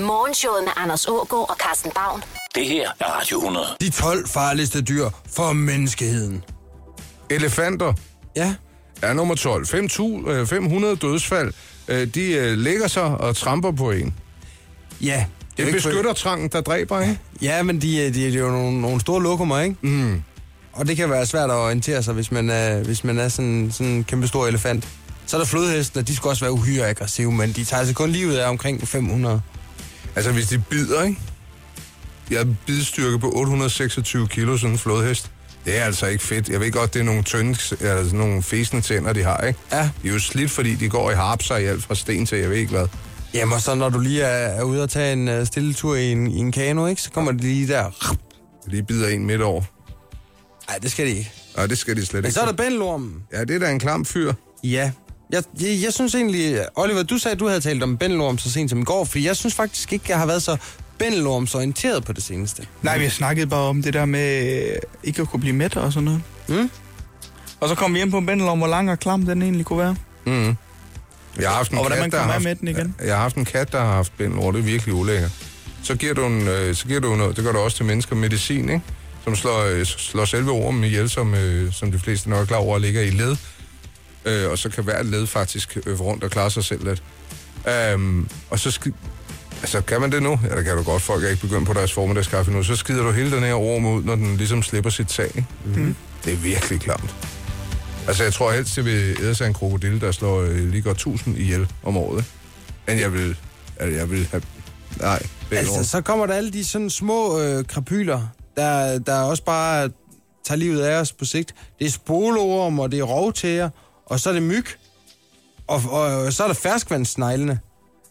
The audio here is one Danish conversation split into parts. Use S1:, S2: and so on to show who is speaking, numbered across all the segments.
S1: Morgenshowet med Anders Ågaard og Carsten Baum.
S2: Det her er Radio 100.
S3: De 12 farligste dyr for menneskeheden.
S4: Elefanter
S3: Ja,
S4: er nummer 12. 5.000, øh, 500 dødsfald, øh, de øh, lægger sig og tramper på en.
S3: ja. er jo
S4: Det
S3: ikke-
S4: beskytter trangen, der dræber, ikke?
S3: Ja, men de, øh, de, de er jo nogle, nogle store lokummer, ikke? Mm. Og det kan være svært at orientere sig, hvis man er, hvis man er sådan, sådan en kæmpe stor elefant. Så er der flodhesten, og de skal også være uhyre aggressive, men de tager altså kun livet af omkring 500.
S4: Altså, hvis de bider, ikke? Jeg har en bidstyrke på 826 kilo, sådan en flodhest. Det er altså ikke fedt. Jeg ved godt, det er nogle tynde, eller sådan nogle fæsende tænder, de har, ikke?
S3: Ja.
S4: De er jo slidt, fordi de går i harpser i alt fra sten til, jeg ved ikke hvad.
S3: Jamen, og så når du lige er, er ude og tage en uh, stille tur i en, i en kano, ikke? Så kommer de lige der.
S4: Lige bider en midt over.
S3: Nej, det skal de ikke.
S4: Og det skal de slet
S3: Men
S4: ikke.
S3: så er der bændelormen.
S4: Ja, det er da en klam fyr.
S3: Ja. Jeg, jeg, jeg synes egentlig, Oliver, du sagde, at du havde talt om bændelorm så sent som i går, for jeg synes faktisk ikke, jeg har været så bændelormsorienteret på det seneste.
S5: Nej, vi snakkede bare om det der med øh, ikke at kunne blive mæt og sådan noget.
S3: Mm?
S5: Og så kom vi hjem på en bændel om, hvor lang og klam den egentlig kunne være.
S4: Jeg har haft en
S5: Og hvordan
S4: kat,
S5: man
S4: der har
S5: kommer af
S4: haft,
S5: med den igen.
S4: Jeg har haft en kat, der har haft bændelår. Det er virkelig ulækkert. Så giver du, en, øh, så giver du noget, det gør du også til mennesker, medicin, ikke? Som slår, øh, slår selve ormen ihjel, som, øh, som de fleste nok er klar over, ligger i led. Øh, og så kan hver led faktisk øh, rundt og klare sig selv lidt. Øhm, og så skid... Altså, kan man det nu? Ja, det kan du godt. Folk er ikke begyndt på deres formiddagskaffe nu. Så skider du hele den her orm ud, når den ligesom slipper sit tag. Ikke? Mm. Det er virkelig klamt. Altså, jeg tror helst, jeg vil æde sig en krokodille, der slår øh, lige godt 1000 ihjel om året. Men jeg vil... Altså, jeg vil have... Nej, det
S3: Altså,
S4: altså,
S3: så kommer der alle de sådan små øh, krapyler, der, der også bare tager livet af os på sigt. Det er spolorm, og det er rovtæger, og så er det myg. Og, og, og så er der ferskvandssneglene.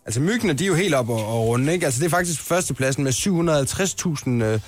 S3: Altså myggene, de er jo helt op og, og runde, ikke? Altså det er faktisk på førstepladsen med 750.000 øh,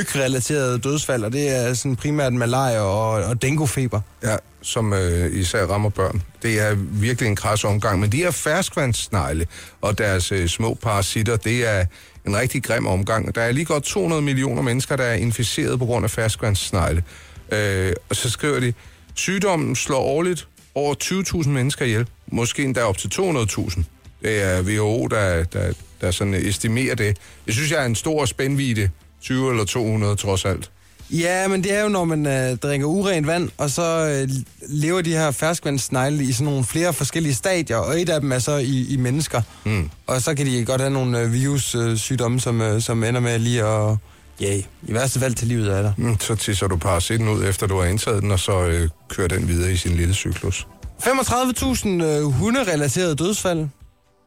S3: mygrelaterede dødsfald, og det er sådan primært malaria og, og denguefeber.
S4: ja, som øh, især rammer børn. Det er virkelig en kras omgang. Men de her ferskvandssnegle og deres øh, små parasitter, det er en rigtig grim omgang. Der er lige godt 200 millioner mennesker, der er inficeret på grund af ferskvandssnegle. Øh, og så skriver de, sygdommen slår årligt over 20.000 mennesker ihjel. Måske endda op til 200.000. Det er WHO, der, der, der sådan estimerer det. Det synes jeg er en stor spændvidde. 20 eller 200 trods alt.
S3: Ja, men det er jo, når man øh, drikker urent vand, og så øh, lever de her ferskvandssnegle i sådan nogle flere forskellige stadier, og et af dem er så i, i mennesker. Mm. Og så kan de godt have nogle øh, virussygdomme, som, øh, som ender med lige at... Ja, i værste fald til livet af dig.
S4: Mm, Så tisser du parasitten ud, efter du har indtaget den, og så øh, kører den videre i sin lille cyklus.
S3: 35.000 øh, hunderelaterede dødsfald.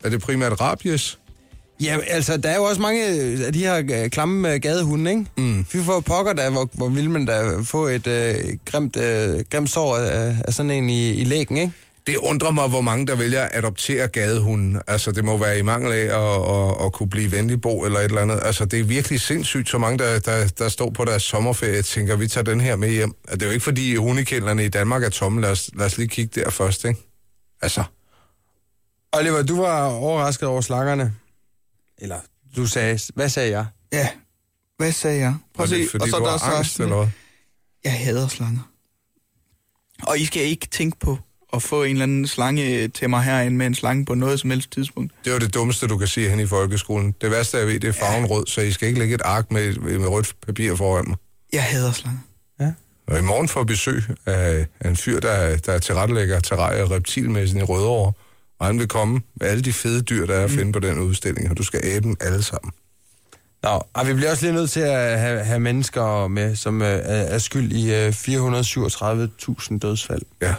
S4: Er det primært rabies?
S3: Ja, altså, der er jo også mange øh, af de her øh, klamme øh, gadehunde, ikke? Mm. Fy for pokker, der, hvor, hvor vil man da få et øh, grimt, øh, grimt sår af, af sådan en i, i lægen, ikke?
S4: Det undrer mig, hvor mange der vælger at adoptere gadehunden. Altså, det må være i mangel af at, at, at kunne blive venlig bo eller et eller andet. Altså, det er virkelig sindssygt, så mange, der, der, der står på deres sommerferie og tænker, vi tager den her med hjem. Og det er jo ikke, fordi hundekælderne i Danmark er tomme. Lad os, lad os lige kigge der først, ikke? Altså,
S3: Oliver, du var overrasket over slangerne. Eller, du sagde... Hvad sagde jeg?
S5: Ja, hvad sagde jeg? Prøv
S4: var
S5: at se.
S4: det, fordi
S5: og så
S4: du
S5: der
S4: har
S5: så
S4: angst,
S5: sådan-
S4: eller hvad?
S5: Jeg hader slanger. Og I skal ikke tænke på at få en eller anden slange til mig herinde med en slange på noget som helst tidspunkt.
S4: Det er jo det dummeste, du kan sige hen i folkeskolen. Det værste, jeg ved, det er farven rød, så I skal ikke lægge et ark med, med rødt papir foran mig.
S5: Jeg hader slanger.
S4: Og i morgen får besøg af, af en fyr, der, der er tilrettelægger terrarier og reptilmessen i Rødovre. Og han vil komme med alle de fede dyr, der er at finde mm. på den udstilling, og du skal æbe dem alle sammen.
S3: Nå, og vi bliver også lige nødt til at have, have mennesker med, som øh, er, er skyld i øh, 437.000 dødsfald.
S4: Ja.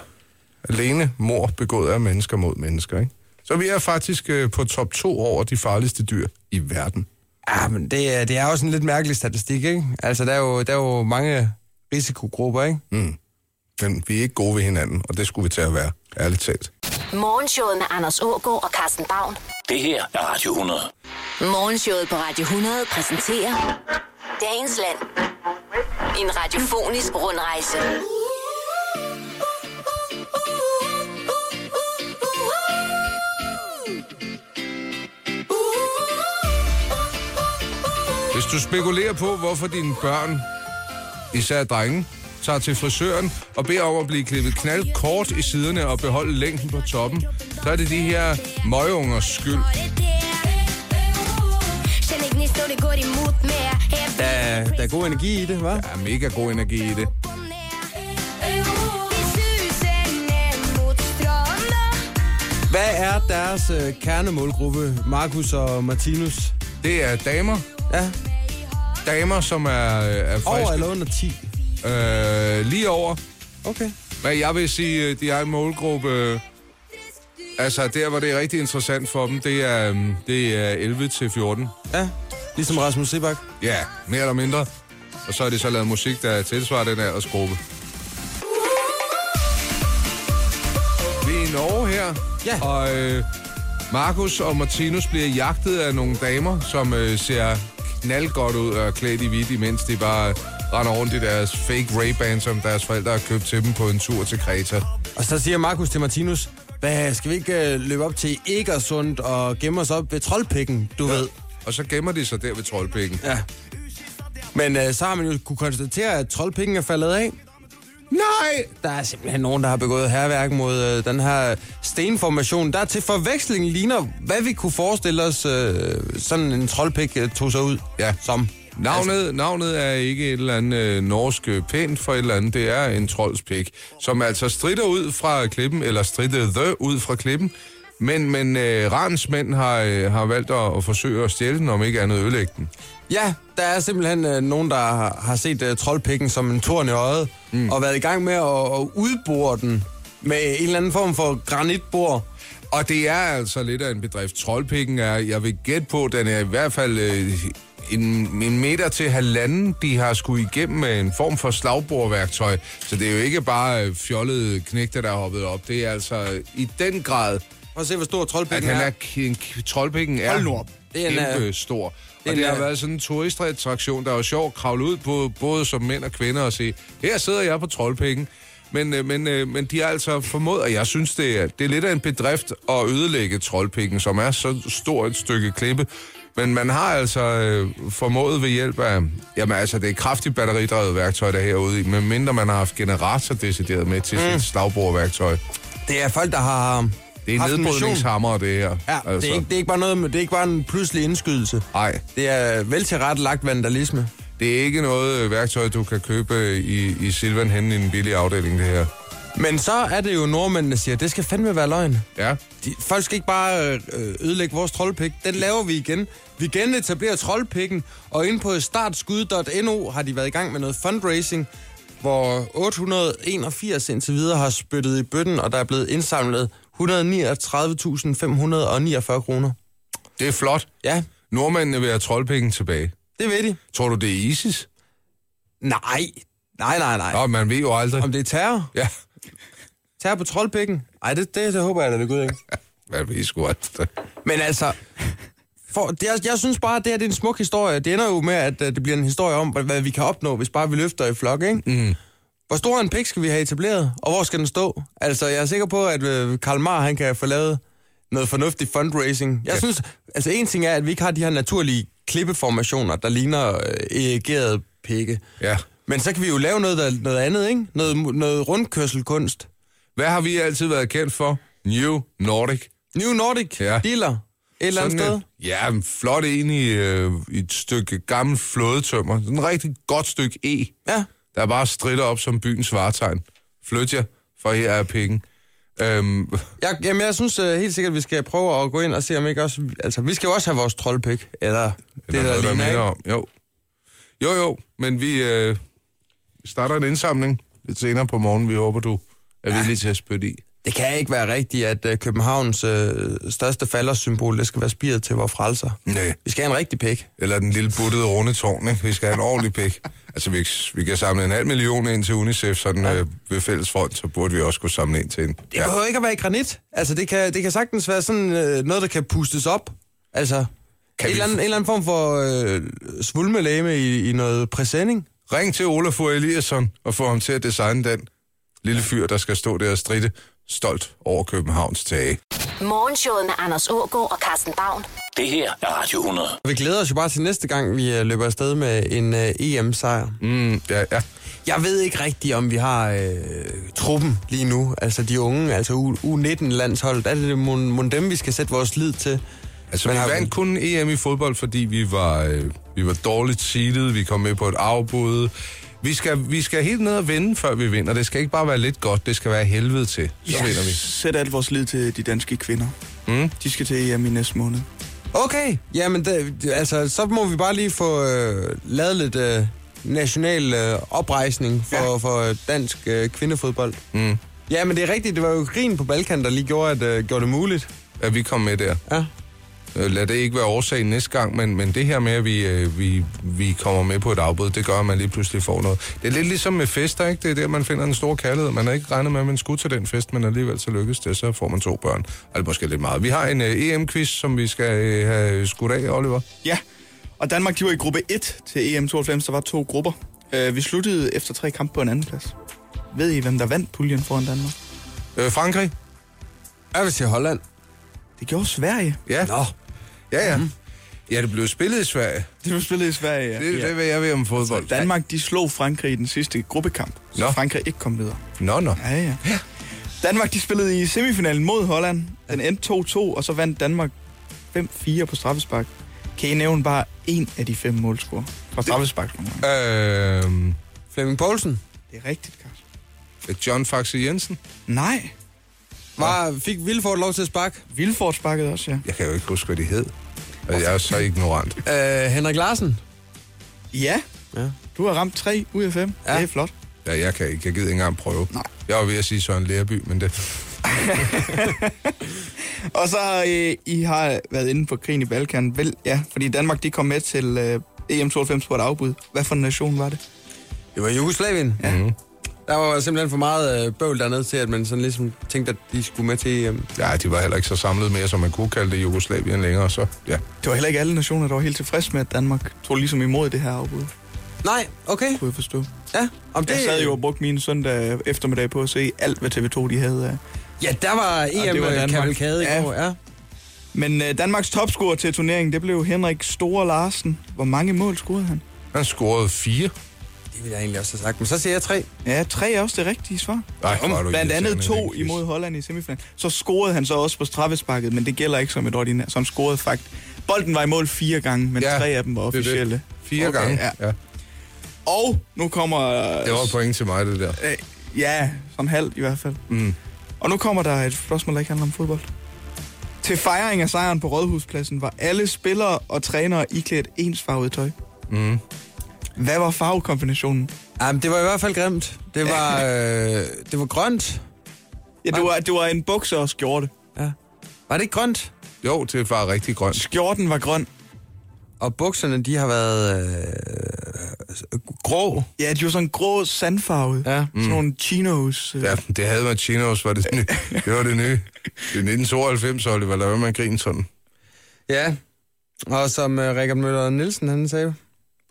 S4: Alene mor begået af mennesker mod mennesker, ikke? Så vi er faktisk øh, på top 2 over de farligste dyr i verden.
S3: Ja, men det, er- det er også en lidt mærkelig statistik, ikke? Altså, der er jo, der er jo mange risikogrupper, ikke?
S4: Men vi er ikke gode ved hinanden, og det skulle vi til at være, ærligt talt.
S1: Morgenshowet med Anders Ågaard og Carsten Baum.
S2: Det her er Radio 100.
S1: Morgenshowet på Radio 100 præsenterer Dagens Land. En radiofonisk rundrejse.
S4: Hvis du spekulerer på, hvorfor dine børn, især drenge, tager til frisøren og beder om at blive klippet knald kort i siderne og beholde længden på toppen, så er Ja, det de her møgungers skyld.
S6: når det går imod mere. Her
S3: Der, er- der er god energi i det, hva'?
S4: Der er mega god energi i det.
S3: Hvad er deres øh, kernemålgruppe, Markus og Martinus?
S4: Det er damer.
S3: Ja,
S4: Damer, som er, øh, er
S3: over
S4: friske.
S3: eller under 10.
S4: Øh, lige over.
S3: Okay.
S4: Men jeg vil sige, øh, de er en målgruppe... øh, Altså, der hvor det er rigtig interessant for dem, det er, øhm, det er 11-14.
S3: Ja, ligesom Rasmus Sebak.
S4: Ja, mere eller mindre. Og så er det så lavet musik, der tilsvarer den aldersgruppe. Vi er i Norge her,
S3: Ja.
S4: og øh, Markus og Martinus bliver jagtet af nogle damer, som øh, ser knaldgodt ud og er klædt i hvidt, imens de bare øh, render rundt i deres fake Ray-Ban, som deres forældre har købt til dem på en tur til Kreta.
S3: Og så siger Markus til Martinus, hvad, skal vi ikke øh, løbe op til Egersund og gemme os op ved Troldpikken, du ja. ved?
S4: Og så gemmer de sig der ved troldpikken.
S3: Ja. Men øh, så har man jo kunne konstatere, at Troldpikken er faldet af.
S4: Nej!
S3: Der er simpelthen nogen, der har begået herværk mod øh, den her stenformation, der til forveksling ligner, hvad vi kunne forestille os, øh, sådan en troldpik øh, tog sig ud
S4: Ja.
S3: som.
S4: Navnet, navnet er ikke et eller andet øh, norsk øh, pænt for et eller andet. Det er en troldspik, som altså strider ud fra klippen, eller stridede ud fra klippen. Men, men øh, Rans mænd har, øh, har valgt at, at forsøge at stjæle den, om ikke andet ødelægge den.
S3: Ja, der er simpelthen øh, nogen, der har, har set øh, troldpikken som en torn i øjet, mm. og været i gang med at, at udbore den med en eller anden form for granitbor.
S4: Og det er altså lidt af en bedrift. Troldpikken er, jeg vil gætte på, den er i hvert fald øh, en, en meter til halvanden, de har skulle igennem med en form for slagbordværktøj. Så det er jo ikke bare øh, fjollede knægter, der er hoppet op. Det er altså øh, i den grad,
S3: Prøv at se, hvor stor
S4: at
S3: troldpikken
S4: han er,
S3: er.
S4: en, troldpikken er
S3: Hold nu op. Det er en,
S4: kæmpe
S3: øh,
S4: stor. Og
S3: en,
S4: det, har
S3: øh,
S4: været sådan en turistattraktion, der var sjov at kravle ud på, både som mænd og kvinder og se, her sidder jeg på troldpikken. Men, øh, men, øh, men de har altså formået, og jeg synes, det er, det er lidt af en bedrift at ødelægge troldpikken, som er så stort et stykke klippe. Men man har altså øh, formået ved hjælp af, jamen altså det er kraftigt batteridrevet værktøj, der er herude i, medmindre man har haft generator decideret med til mm. sit slagbordværktøj.
S3: Det er folk, der har
S4: Det er
S3: haft en mission.
S4: nedbrydningshammer, det her.
S3: Ja, altså. det, er ikke, det, er ikke bare noget, med- det er ikke bare en pludselig indskydelse.
S4: Nej,
S3: Det er veltilrettelagt vandalisme.
S4: det er ikke noget øh, værktøj, du kan købe øh, i, i Silvan henne i en billig afdeling, det her.
S3: Men så er det jo nordmændene, der siger, det skal fandme være løgn.
S4: Ja,
S3: De, folk skal ikke bare øh, øh, ødelægge vores troldpik. Den laver vi igen. Vi genetablerer troldpikken, og inde på startskud.no har de været i gang med noget fundraising, hvor 881 indtil videre har spyttet i bøtten, og der er blevet indsamlet 139.549 kroner.
S4: det er flot.
S3: Ja,
S4: Nordmændene vil have troldpenge tilbage.
S3: det ved de.
S4: Tror du, det er ISIS?
S3: Nej, nej, nej, nej.
S4: Nå, man ved jo aldrig.
S3: Om det er terror?
S4: Ja,
S3: Terror på troldpikken? Ej, det, det, det håber jeg da ved Gud ikke.
S4: man ved sgu aldrig.
S3: Men altså, for, det, jeg, jeg synes bare, at det her det er en smuk historie. Det ender jo med, at øh, det bliver en historie om, hvad, hvad vi kan opnå, hvis bare vi løfter i flok, ikke? Mm. Hvor stor en pik skal vi have etableret, og hvor skal den stå? Altså, jeg er sikker på, at øh, Karl Marr, han kan få lavet noget fornuftig fundraising. Jeg ja. synes, altså en ting er, at vi ikke har de her naturlige klippeformationer, der ligner øh, erigerede pikke.
S4: Ja.
S3: Men så kan vi jo lave noget, der, noget andet, ikke? Noget, noget rundkørselkunst.
S4: Hvad har vi altid været kendt for? New Nordic.
S3: New Nordic,
S4: Ja.
S3: ja. dealer, et eller andet sted.
S4: et- ja, en flot en i, øh, i et stykke gammel flådetømmer. Sådan et rigtig godt stykke E.
S3: Ja.
S4: der bare strider op som byens varetegn. Flyt jer, for her er penge. Øhm,
S3: Jeg, jamen, jeg synes uh, helt sikkert, at vi skal prøve at gå ind og se, om ikke også... Altså, vi skal jo også have vores troldpik, eller det, der
S4: er noget,
S3: ligner,
S4: minder
S3: ikke?
S4: om. Jo. jo, jo, men vi øh, starter en indsamling lidt senere på morgen. Vi håber, du er villig til at spytte i.
S3: Det kan ikke være rigtigt, at uh, Københavns uh, største faldersymbol, det skal være spiret til vores frelser.
S4: Nej.
S3: Vi skal have en rigtig pik.
S4: Eller den lille buttede runde tårn, ikke? Vi skal have en ordentlig pik. Altså, vi, vi kan samle en halv million ind til UNICEF, sådan øh, ved fælles front, så burde vi også kunne samle ind til en.
S3: Det ja. behøver ikke at være i granit. Altså, det kan, det kan sagtens være sådan uh, noget, der kan pustes op. Altså, kan en,
S4: Kan vi-
S3: eller anden, en eller anden form for uh, svulmelæme i, i noget præsending.
S4: Ring til Olafur Eliasson og få ham til at designe den lille fyr, der skal stå der og stride stolt over Københavns tage.
S1: Morgenshowet med Anders Ågaard og Carsten Baum.
S2: Det her er Radio 100.
S3: Vi glæder os jo bare til næste gang, vi øh, løber afsted med en øh, EM-sejr.
S4: Mm, ja, ja.
S3: Jeg ved ikke rigtigt, om vi har øh, truppen lige nu. Altså de unge, altså U- U19-landsholdet. Er det mon, mon dem, vi skal sætte vores lid til?
S4: Altså,
S3: Men
S4: vi
S3: har vi-
S4: vandt kun EM i fodbold, fordi vi var, øh, vi var dårligt seedet, vi kom med på et afbud. Vi skal, vi skal helt ned og vinde, før vi vinder. Det skal ikke bare være lidt godt, det skal være helvede til. Så
S5: Ja.
S4: vinder vi.
S5: Sæt alt vores lid til de danske kvinder. Mm. De skal til EM i næste måned.
S3: Okay, jamen det, altså, så må vi bare lige få øh, lavet lidt øh, national øh, oprejsning for, ja.
S5: Ja.
S3: for dansk øh, kvindefodbold. Mm. Ja, men det er rigtigt, det var jo krigen på Balkan, der lige gjorde, at, øh, gjorde det muligt.
S4: At vi kom med der.
S3: Ja.
S4: Øh, Lad det ikke være årsagen næste gang, men, men det her med, at vi, øh, vi, vi kommer med på et afbud, det gør, at man lige pludselig får noget. Det er lidt ligesom med fester, ikke? Det er der, man finder en stor kærlighed. Man har ikke regnet med, at man skulle til den fest, men alligevel så lykkes det, så får man to børn. Og det er måske lidt meget. Vi har en øh, EM-quiz, som vi skal øh, have skudt af, Oliver.
S5: Ja, og Danmark de var i gruppe 1 til EM92, der var to grupper. Øh, vi sluttede efter tre kampe på en anden plads. Ved I, hvem der vandt puljen foran Danmark?
S4: Øh, Frankrig?
S3: Jeg vil sige Holland.
S5: Det gjorde Sverige.
S4: Ja. Nå. Ja, ja.
S5: Mhm.
S4: Ja, det blev spillet i Sverige.
S5: Det var spillet i Sverige, ja.
S4: Det, det vil jeg ved om fodbold.
S5: Danmark de slog Frankrig i den sidste gruppekamp, så
S4: Nå.
S5: Frankrig ikke kom videre.
S4: Nå, nå.
S5: Ja, ja. Danmark de spillede i semifinalen mod Holland. Den endte 2-2, og så vandt Danmark 5-4 på straffespark. Kan I nævne bare en af de fem målscorer fra straffespark?
S4: Øh,
S5: Det
S3: Flemming Poulsen
S5: er rigtigt, Carsten.
S4: John Faxe Jensen?
S5: Nej.
S3: var, fik Vilfort lov til at sparke.
S5: Vildfort sparkede også, ja.
S4: Jeg kan jo ikke huske, hvad de hed. Og jeg er så ignorant.
S3: Øh, Henrik Larsen.
S5: Ja.
S3: Ja.
S5: Du har ramt 3 ud af 5.
S3: Ja.
S5: Ja. Det er flot.
S4: Ja, jeg kan ikke. Jeg gider ikke engang prøve.
S5: Nej.
S4: Jeg var ved at sige Søren Lærby, men det...
S5: Og så har øh, I har været inde på krigen i Balkan. Vel, ja, fordi Danmark de kom med til øh, EM92 på et afbud. Hvad for en nation var det?
S3: Det var Jugoslavien. Ja. Mm-hmm. Der var simpelthen for meget øh, bøvl dernede til, at man sådan ligesom tænkte, at de skulle med til øh, EM.
S4: Ja, de var heller ikke så samlet mere, som man kunne kalde det Jugoslavien længere, så ja.
S5: Det var heller ikke alle nationer, der var helt tilfredse med, at Danmark tog ligesom imod det her afbud,
S3: Nej, okay.
S5: kunne jeg forstå.
S3: Ja, om det...
S5: Jeg sad jo og brugte min søndag eftermiddag på at se alt, hvad TV2 de havde af.
S3: Ja, der var E
S5: var Danmark.
S3: EM-kavalkade i
S5: Ja.
S3: går, ja.
S5: Men øh, Danmarks topscorer til turneringen, det blev Henrik Store Larsen. Hvor mange mål scorede han?
S4: Han scorede fire.
S3: Det ville jeg egentlig også have sagt, men så siger jeg tre.
S5: Ja, tre er også det rigtige svar.
S4: Nej, hvor er du
S5: Blandt andet
S4: irriterende,
S5: to
S4: Henrik.
S5: imod Holland i semifinalen. Så scorede han så også på straffesparket, men det gælder ikke som et ordinært, som scorede fakt. Bolden var i mål fire gange, men
S4: Ja,
S5: ja, tre af dem var
S4: det er det.
S5: officielle. Det.
S4: Fire okay, gange, ja. ja.
S5: Og nu kommer... øh,
S4: Det var et point til mig, det der.
S5: øh, ja, sådan halv i hvert fald.
S4: Mm.
S5: Og nu kommer der et spørgsmål, der ikke handler om fodbold. Til fejring af sejren på Rådhuspladsen var alle spillere og trænere iklædt ensfarvet tøj.
S4: Mm.
S5: Hvad var farvekombinationen?
S3: Jamen, det var i hvert fald grimt. Det var, øh, det var grønt.
S5: Ja, det var, det var en bukser og skjorte.
S3: Ja. Var det ikke grønt?
S4: Jo, det var rigtig grønt.
S5: Skjorten var grøn.
S3: Og bukserne, de har været øh, grå.
S5: Ja, de var sådan grå sandfarvet.
S3: Ja.
S5: Sådan nogle chinos. øh.
S4: Mm. Ja, det havde man chinos, var det nye. Det var det nye. Det er 1992, Oliver, der var man grine sådan.
S3: Ja. Og som øh, Rikard Møller Nielsen, han sagde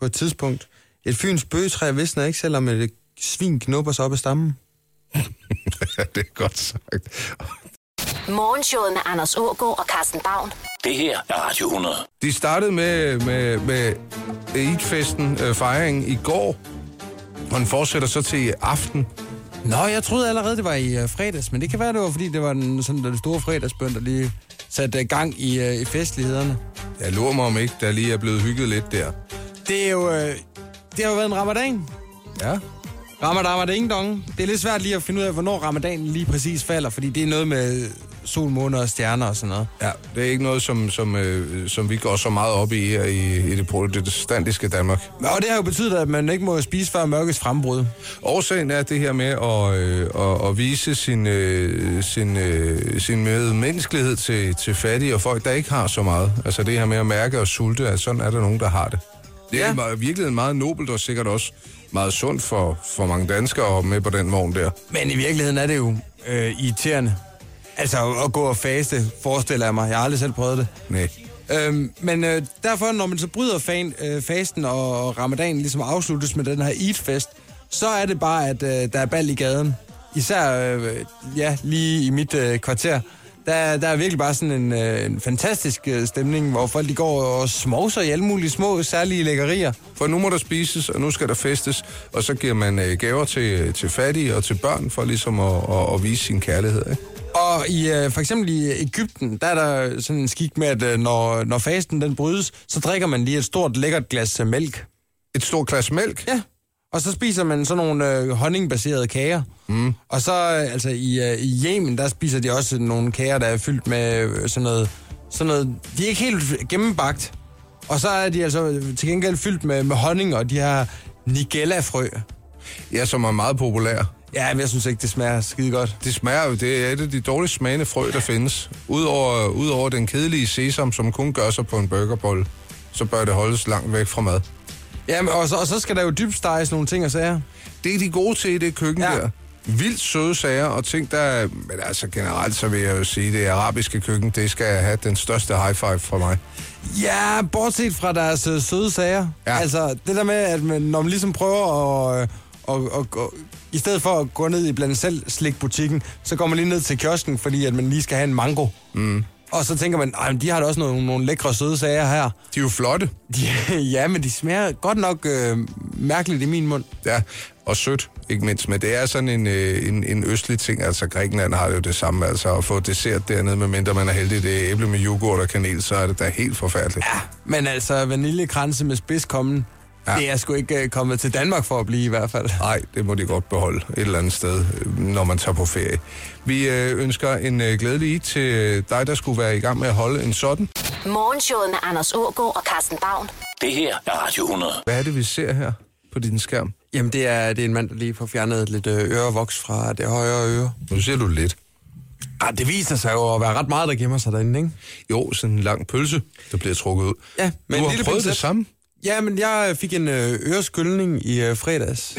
S3: på et tidspunkt, et fyns bøgetræ visner ikke, selvom et øh, svin knupper sig op af stammen.
S4: Ja, det er godt sagt.
S1: Morgenshowet med Anders Ågaard og Carsten Baum.
S2: Det her er Radio 100.
S4: De startede med, med, med Eid-festen, øh, fejringen i går, og den fortsætter så til i aften.
S3: Nå, jeg troede allerede, det var i øh, fredags, men det kan være, det var, fordi det var den, sådan, den store fredagsbønd, der lige satte øh, gang i, øh, i festlighederne.
S4: Jeg lurer mig om ikke, der lige er blevet hygget lidt der.
S3: Det er jo... Øh, det har jo været en ramadan.
S4: Ja.
S3: Ramadan var det ingen dong. Det er lidt svært lige at finde ud af, hvornår ramadanen lige præcis falder, fordi det er noget med sol, måne og stjerner og sådan noget.
S4: Ja, det er ikke noget, som, som, øh, som vi går så meget op i her i, i det protestantiske Danmark.
S3: Og det har jo betydet, at man ikke må spise før mørkets frembrud.
S4: Årsagen er det her med at, øh, at, at vise sin, øh, sin, øh, sin medmenneskelighed til, til fattige og folk, der ikke har så meget. Altså det her med at mærke og sulte, at sådan er der nogen, der har det. Det er
S3: Ja.
S4: ja. virkelig meget nobelt og sikkert også meget sundt for, for mange danskere at hoppe med på den vogn der.
S3: Men i virkeligheden er det jo øh, irriterende. Altså at gå og faste, forestiller jeg mig. Jeg har aldrig selv prøvet det.
S4: Nej.
S3: Øhm, men øh, derfor, når man så bryder fan, øh, fasten og, og ramadanen ligesom afsluttes med den her Eid-fest, så er det bare, at øh, der er bal i gaden. Især øh, ja, lige i mit øh, kvarter. Der, der er virkelig bare sådan en, øh, en fantastisk øh, stemning, hvor folk de går og smovser i alle mulige små, særlige lækkerier.
S4: For nu må der spises, og nu skal der festes, og så giver man øh, gaver til, til fattige og til børn for ligesom at, at, at vise sin kærlighed. Ikke?
S3: Og i, øh, for eksempel i Ægypten, der er der sådan en skik med, at øh, når, når fasten den brydes, så drikker man lige et stort lækkert glas øh, mælk.
S4: Et stort glas mælk?
S3: Ja. Og så spiser man sådan nogle øh, honningbaserede kager. Mm. Og så, øh, altså i, øh, i Yemen, der spiser de også nogle kager, der er fyldt med øh, sådan noget, sådan noget... De er ikke helt gennembagt. Og så er de altså øh, til gengæld fyldt med, med honning, og de her nigella-frø.
S4: Ja, som er meget populær.
S3: Ja, men jeg synes ikke, det smager skide godt.
S4: Det smager jo, det er et af de dårligst smagende frø, der findes. Udover, udover den kedelige sesam, som kun gør sig på en burgerbolle, så bør det holdes langt væk fra mad.
S3: Ja, men, og, så, og så skal der jo dybsteges nogle ting og sager.
S4: Det er de gode til i det køkken ja.
S3: Ja.
S4: der. Vildt søde sager og ting, der... Men altså generelt, så vil jeg jo sige, det arabiske køkken, det skal have den største high five fra mig.
S3: Ja, bortset fra deres øh, søde sager.
S4: Ja.
S3: Ja. Altså, det der med, at man, når man ligesom prøver at... Øh, og, og, og, I stedet for at gå ned i blandt selv slikbutikken, så går man lige ned til kiosken, fordi at man lige skal have en mango. Mm. Og så tænker man, at de har da også nogle, nogle lækre søde sager her.
S4: De er jo flotte,
S3: De, ja, men de smager godt nok øh, mærkeligt i min mund.
S4: ja, og sødt, ikke mindst. Men det er sådan en, øh, en, en østlig ting, altså Grækenland har jo det samme, altså at få dessert dernede, medmindre man er heldig, det er æble med yoghurt og kanel, så er det da helt forfærdeligt. Ja.
S3: Men altså, vaniljekranse med spidskommen,
S4: Ja.
S3: ja. det er sgu ikke øh, kommet til Danmark for at blive i hvert fald.
S4: Nej, det må de godt beholde et eller andet sted, øh, når man tager på ferie. Vi øh, ønsker en øh, glædelig Eid til øh, dig, der skulle være i gang med at holde en sådan.
S1: Morgenshowet med Anders Ågaard og Carsten Baum.
S2: Det her er Radio 100.
S4: Hvad er det, vi ser her på din skærm?
S3: Jamen, det er, det er en mand, der lige får fjernet lidt øh, ørevoks fra det højre øre.
S4: Nu ser du lidt.
S3: Ah, det viser sig jo at være ret meget, der gemmer sig derinde, ikke?
S4: Jo, sådan en lang pølse, der bliver trukket ud.
S3: Ja,
S4: men
S3: men
S4: du
S3: en
S4: har
S3: lille
S4: prøvet
S3: pincet.
S4: det samme.
S3: Ja, men jeg fik en øh, øreskyldning i øh, fredags.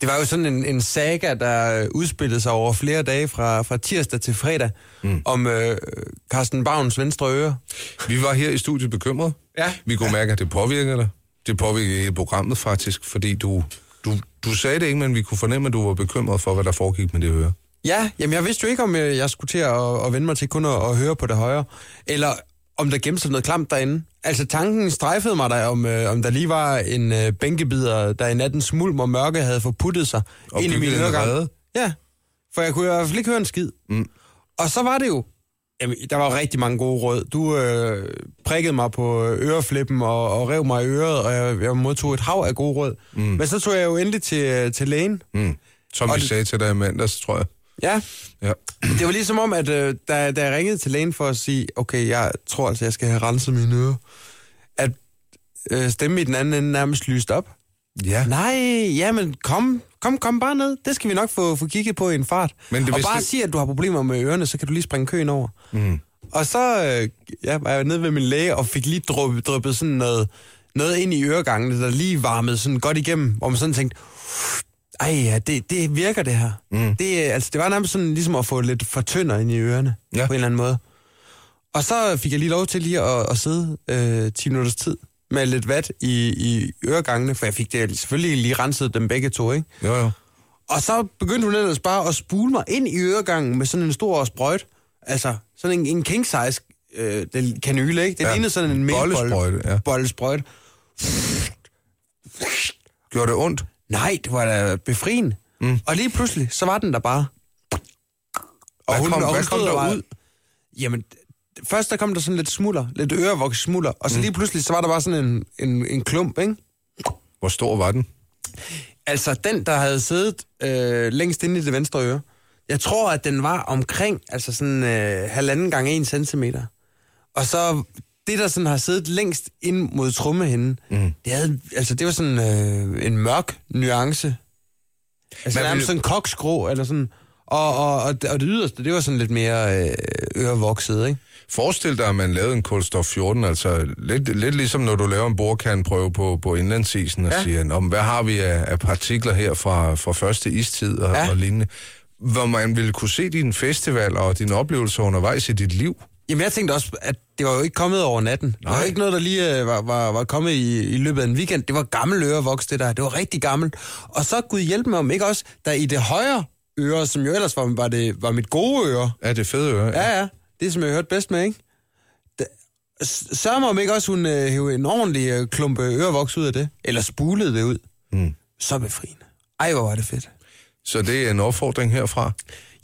S3: Det var jo sådan en, en saga, der øh, udspillede sig over flere dage fra, fra tirsdag til fredag, mm. om øh, Carsten Bavns venstre øre.
S4: Vi var her i studiet bekymrede.
S3: Ja.
S4: Vi kunne mærke, at det påvirker dig. Det påvirker hele programmet faktisk, fordi du, du, du sagde det ikke, men vi kunne fornemme, at du var bekymret for, hvad der foregik med det øre.
S3: Ja, jamen jeg vidste jo ikke, om øh, jeg skulle til at, at vende mig til kun at, at høre på det højre, eller om der gemte sig noget klamt derinde. Altså tanken strejfede mig der, om, øh, om der lige var en øh, bænkebider, der i nattens mulm og mørke havde forputtet sig
S4: Og bygget en rede.
S3: Ja, for jeg kunne i hvert fald ikke høre en skid. Mm. Og så var det jo, jamen, der var jo rigtig mange gode råd. Du øh, prikkede mig på øreflippen og, og rev mig i øret, og jeg, jeg modtog et hav af gode råd. Mm. Men så tog jeg jo endelig til, øh, til lægen.
S4: Mm. Som
S3: Og
S4: vi
S3: det-
S4: sagde til dig i mandags, tror jeg.
S3: Ja,
S4: Ja.
S3: Det var ligesom om, at øh, da, da jeg ringede til lægen for at sige, okay, jeg tror altså, jeg skal have renset mine ører, at øh, stemme i den anden ende nærmest lyst op.
S4: ja.
S3: Nej, jamen kom, kom, kom bare ned. Det skal vi nok få, få kigget på i en fart.
S4: Men
S3: Men
S4: det
S3: det, og
S4: vidste-
S3: bare sig, at du har problemer med ørerne, så kan du lige springe køen over. Mm. Og så øh, ja, var jeg nede ved min læge og fik lige dryppet, dryppet sådan noget, noget ind i øregangene, der lige varmede sådan godt igennem, hvor man sådan tænkte, ej ja, det, det virker det her. Mm. Det, øh, altså, det var nærmest sådan ligesom at få lidt for tynder ind i ørerne,
S4: Ja.
S3: ja. på en eller anden måde. Og så fik jeg lige lov til lige at, at sidde øh, 10 minutters tid med lidt vat i, i øregangene, for jeg fik det selvfølgelig lige renset dem begge to, ikke?
S4: Jo, jo.
S3: Og så begyndte hun ellers bare at spule mig ind i øregangen med sådan en stor sprøjt. Altså, sådan en, en king size øh, den kanyle, ikke? Det
S4: Ja,
S3: ja, lignede sådan en
S4: bollesprøjte, ja.
S3: Bollesprøjt.
S4: Gjorde det ondt?
S3: Nej, det var da befriende. Mm. Og lige pludselig, så var den der bare. Og
S4: Hvad kom- hvad
S3: stod
S4: kom der
S3: og var-
S4: ud?
S3: Jamen, først der kom der sådan lidt smuller, lidt ørevoks smuller, og så mm. lige pludselig, så var der bare sådan en, en, en klump, ikke?
S4: Hvor stor var den?
S3: Altså, den, der havde siddet øh, længst inde i det venstre øre, jeg tror, at den var omkring, altså sådan øh, halvanden gange en centimeter. Og så det, der sådan har siddet længst ind mod trummehinden, mm. det, havde, altså, det var sådan øh, en mørk nuance. Altså
S4: Men
S3: nærmest
S4: vil-
S3: sådan koksgrå, eller sådan... Og, og, og, det- og det yderste, det var sådan lidt mere øh, ørevokset, ikke?
S4: Forestil dig, at man lavede en kulstof 14, altså lidt, lidt ligesom når du laver en bordkanprøve på, på indlandsisen og ja.
S3: Ja.
S4: siger, Nå, men hvad har vi af, af partikler her fra, fra første istid og, ja.
S3: Ja.
S4: og lignende, hvor man ville kunne se dine festivaler og dine oplevelser undervejs i dit liv.
S3: Jamen, jeg tænkte også, at det var jo ikke kommet over natten. Nej. Det
S4: Nej.
S3: var ikke noget, der lige øh, var, var, var kommet i, i løbet af en weekend. Det var gammel ørevoks, det der. Det var rigtig gammelt. Og så, Gud hjælpe mig om ikke også, der i det højre øre, som jo ellers var, var, det, var mit gode øre.
S4: Er det fede øre?
S3: Ja, ja. Det, som jeg hørte bedst med, ikke? Da- s- Sørg mig om ikke også, hun øh, hævde en ordentlig øh, klumpe ørevoks ud af det. Eller spulede det ud. Mm. Så befriende. Ej, hvor var det fedt.
S4: Så det er en opfordring herfra.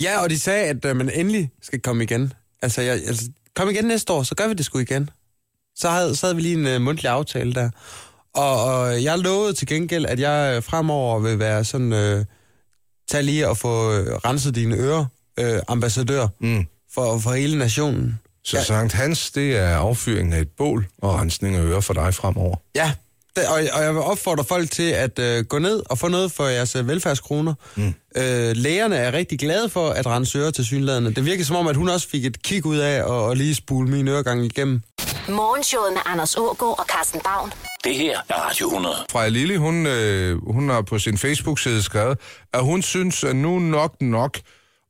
S3: Ja, og de sagde, at øh, man endelig skal komme igen. Altså, jeg, altså, kom igen næste år, så gør vi det sgu igen. Så havde, så havde vi lige en øh, mundtlig aftale der. Og, og jeg lovede til gengæld, at jeg øh, fremover vil være sådan... Øh, tag lige og få øh, renset dine ører, øh, ambassadør, mm. for, for hele nationen.
S4: Så ja. Sankt Hans, det er affyringen af et bål og rensning af ører for dig fremover.
S3: Ja, det, og, og jeg vil opfordre folk til at øh, gå ned og få noget for jeres øh, velfærdskroner. Mm. Øh, lægerne er rigtig glade for at rense ører til synlæderne. Det virker som om, at hun også fik et kig ud af og, og lige spule min øregang igennem.
S1: Morgenshowet med Anders Ågaard og Carsten Baum.
S2: Det her er Radio 100.
S4: Freja Lille, hun, øh, hun har på sin Facebook-side skrevet, at hun synes, at nu er nok nok.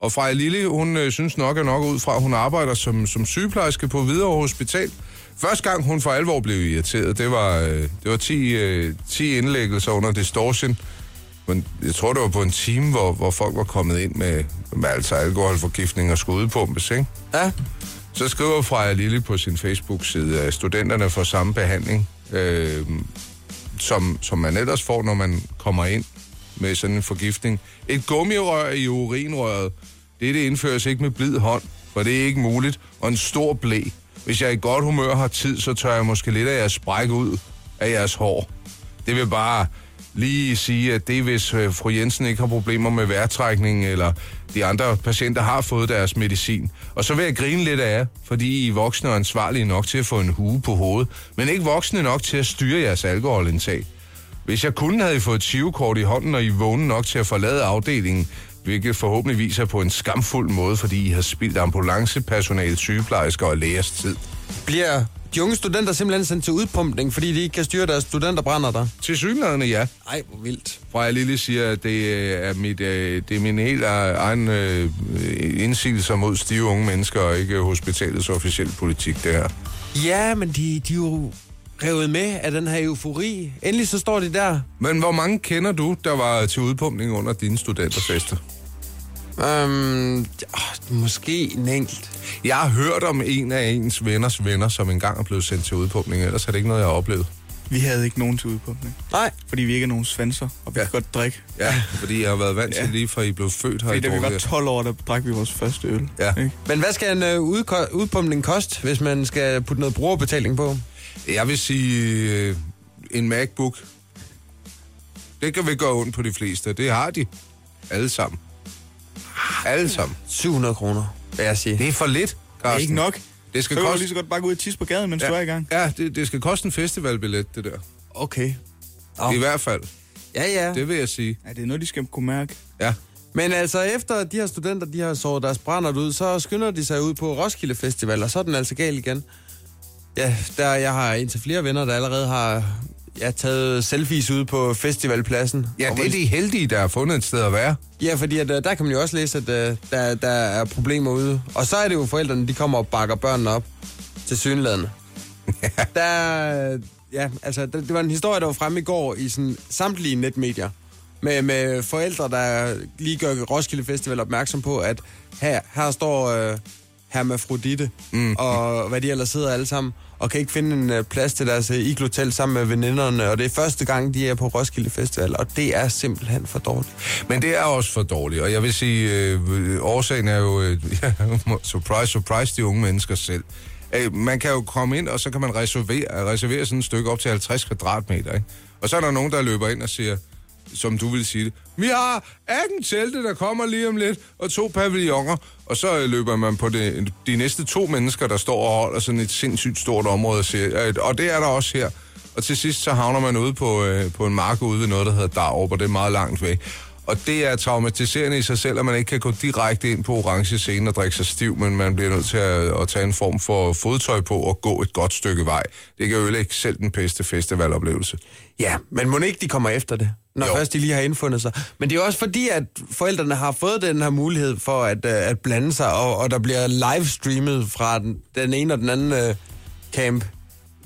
S4: Og Freja Lille, hun øh, synes nok er nok ud fra, at hun arbejder som, som sygeplejerske på Hvidovre Hospital. Første gang, hun for alvor blev irriteret, det var, øh, det var 10, øh, 10 indlæggelser under distortion. Men jeg tror, det var på en time, hvor, hvor folk var kommet ind med, med altså alkoholforgiftning og skudepumpes, ikke?
S3: Ja,
S4: Så skriver Freja Lille på sin Facebook-side, at studenterne får samme behandling, øh, som, som man ellers får, når man kommer ind med sådan en forgiftning. Et gummirør i urinrøret, det, det indføres ikke med blid hånd, for det er ikke muligt, og en stor blæ. Hvis jeg er i godt humør har tid, så tør jeg måske lidt af jeres sprække ud af jeres hår. Det vil bare lige sige, at det er, hvis øh, fru Jensen ikke har problemer med vejrtrækning, eller de andre patienter har fået deres medicin. Og så vil jeg grine lidt af jer, fordi I er voksne og ansvarlige nok til at få en hue på hovedet, men ikke voksne nok til at styre jeres alkoholindtag. Hvis jeg kun havde I fået 20 kort i hånden, og I er vågne nok til at forlade afdelingen, hvilket forhåbentligvis er på en skamfuld måde, fordi I har spildt ambulancepersonale, sygeplejersker og lægers tid.
S3: bliver de unge studenter simpelthen sendt til udpumpning, fordi de ikke kan styre deres studenterbrænder der.
S4: Til synlædende ja,
S3: Ej, hvor vildt.
S4: Freja Lille siger, at det øh, er, mit, øh, det er min helt øh, egen øh, indsigelser mod stive unge mennesker, og ikke øh, hospitalets officielle politik, det her.
S3: Ja, men de, de er jo revet med af den her eufori. Endelig så står de der.
S4: Men hvor mange kender du, der var til udpumpning under dine studenterfester?
S3: Øhm, åh, måske en enkelt.
S4: Jeg har hørt om en af ens venners venner, som engang er blevet sendt til udpumpning, ellers er det ikke noget, jeg har oplevet.
S5: Vi havde ikke nogen til udpumpning,
S3: Nej,
S5: fordi vi ikke er nogen svanser, og vi
S4: Ja.
S5: ja. godt drikke.
S4: Ja, fordi jeg har været vant til
S5: Ja.
S4: lige fra I blev født her
S5: Fordi da vi var
S4: det.
S5: 12 år, der drak vi vores første øl.
S4: Ja.
S5: Ikke?
S3: men hvad skal en øh, udko- udpumpning koste, hvis man skal putte noget brugerbetaling på?
S4: Jeg vil sige øh, en MacBook. Det kan vi gøre ondt på de fleste. Det har de. Alle sammen. Alle sammen.
S3: 700 kroner, vil jeg sige.
S4: Det er for lidt,
S5: Det er
S4: Carsten.
S5: ikke nok.
S4: Det skal
S5: så kan du
S4: koste-
S5: lige så godt bare gå ud og tisse på gaden, mens ja. du er i gang.
S4: Ja, ja det, det skal koste en festivalbillet, det der.
S3: Okay.
S4: Oh.
S3: Åh.
S4: I hvert fald.
S3: Ja, ja.
S4: Det vil jeg sige.
S5: Ja, det er noget, de skal kunne mærke.
S4: Ja.
S3: Men altså, efter de her studenter, de har såret deres brænder ud, så skynder de sig ud på Roskilde Festival, og så er den altså gal igen. Ja, der jeg har indtil flere venner, der allerede har ja, taget selfies ude på festivalpladsen.
S4: Ja,
S3: Og
S4: det er de heldige, der har fundet et sted at være.
S3: Ja, fordi at, øh, der kan man jo også læse, at øh, der, der er problemer ude. Og så er det jo forældrene, de kommer og bakker børnene op til synlædende. der, øh, ja, altså, der, det var en historie, der var fremme i går i sådan, samtlige netmedier. Med, med forældre, der lige gør Roskilde Festival opmærksom på, at her, her står øh, hermafrodite mm. og hvad de ellers sidder alle sammen, og kan ikke finde en øh, plads til deres øh, iglotelt sammen med veninderne. Og det er første gang, de er på Roskilde Festival, og det er simpelthen for dårligt.
S4: Men det er også for dårligt, og jeg vil sige, øh, årsagen er jo, øh, ja, surprise, surprise, de unge mennesker selv. Øh, man kan jo komme ind, og så kan man reservere, reservere sådan et stykke op til 50 kvadratmeter, ikke? Og så er der nogen, der løber ind og siger, som du vil sige det, vi har 18 telte, der kommer lige om lidt, og to pavilloner, og så øh, løber man på det, de næste to mennesker, der står og holder sådan et sindssygt stort område, og, siger, øh, og det er der også her. Og til sidst så havner man ude på, øh, på en mark ude ved noget, der hedder Darup, og det er meget langt væk. Og det er traumatiserende i sig selv, at man ikke kan gå direkte ind på orange scene og drikke sig stiv, men man bliver nødt til at, at tage en form for fodtøj på og gå et godt stykke vej. Det kan ødelægge selv den bedste festivaloplevelse.
S3: Ja, men må ikke de kommer efter det, når
S4: Jo.
S3: jo. først de lige har indfundet sig. Men det er jo også fordi, at forældrene har fået den her mulighed for at, øh, at blande sig, og, og der bliver livestreamet fra den, den ene og den anden øh, camp.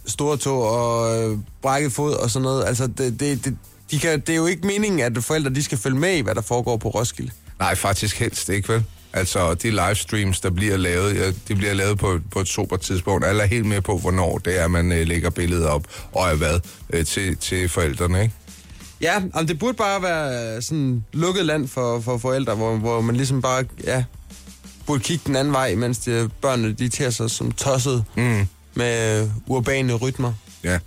S3: Store tog og øh, brækket fod og sådan noget. Altså, det, det, det, de kan, det er jo ikke meningen, at forældre de skal følge med i, hvad der foregår på Roskilde.
S4: Nej, faktisk helst ikke, vel? Altså, de livestreams, der bliver lavet, ja, de bliver lavet på, på et super tidspunkt. Alle er helt med på, hvornår det er, man øh, lægger billeder op, og er hvad øh, til, til forældrene, ikke?
S3: Ja, jamen, det burde bare være øh, sådan lukket land for, for forældre, hvor, hvor man ligesom bare ja, burde kigge den anden vej, mens de, børnene de tager sig som tosset
S4: Mm.
S3: med øh, urbane rytmer.
S4: Ja.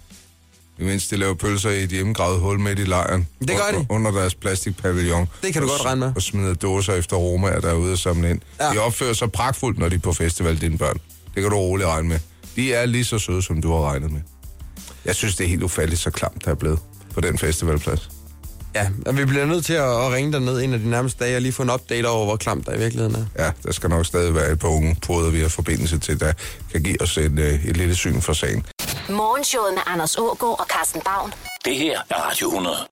S4: Imens de laver pølser i et hjemmegravet hul midt i lejren.
S3: Det gør
S4: under,
S3: de.
S4: Under deres plastikpavillon.
S3: Det kan du
S4: Og
S3: godt
S4: s-
S3: regne med.
S4: Og smider dåser efter romaer, der er ude og samle ind.
S3: Ja.
S4: Ja. De opfører sig pragtfuldt, når de er på festival, dine børn. Det kan du roligt regne med. De er lige så søde, som du har regnet med. Jeg synes, det er helt ufatteligt, så klamt der er blevet på den festivalplads.
S3: Ja, og vi bliver nødt til at, at ringe derned en af de nærmeste dage og lige få en update over, hvor klamt der i virkeligheden er.
S4: Ja, der skal nok stadig være et par unge poder, vi har forbindelse til, der kan give os et, øh, et lille syn for sagen.
S1: Morgenshowet med Anders Ågaard og Carsten Baum.
S2: Det her er Radio 100.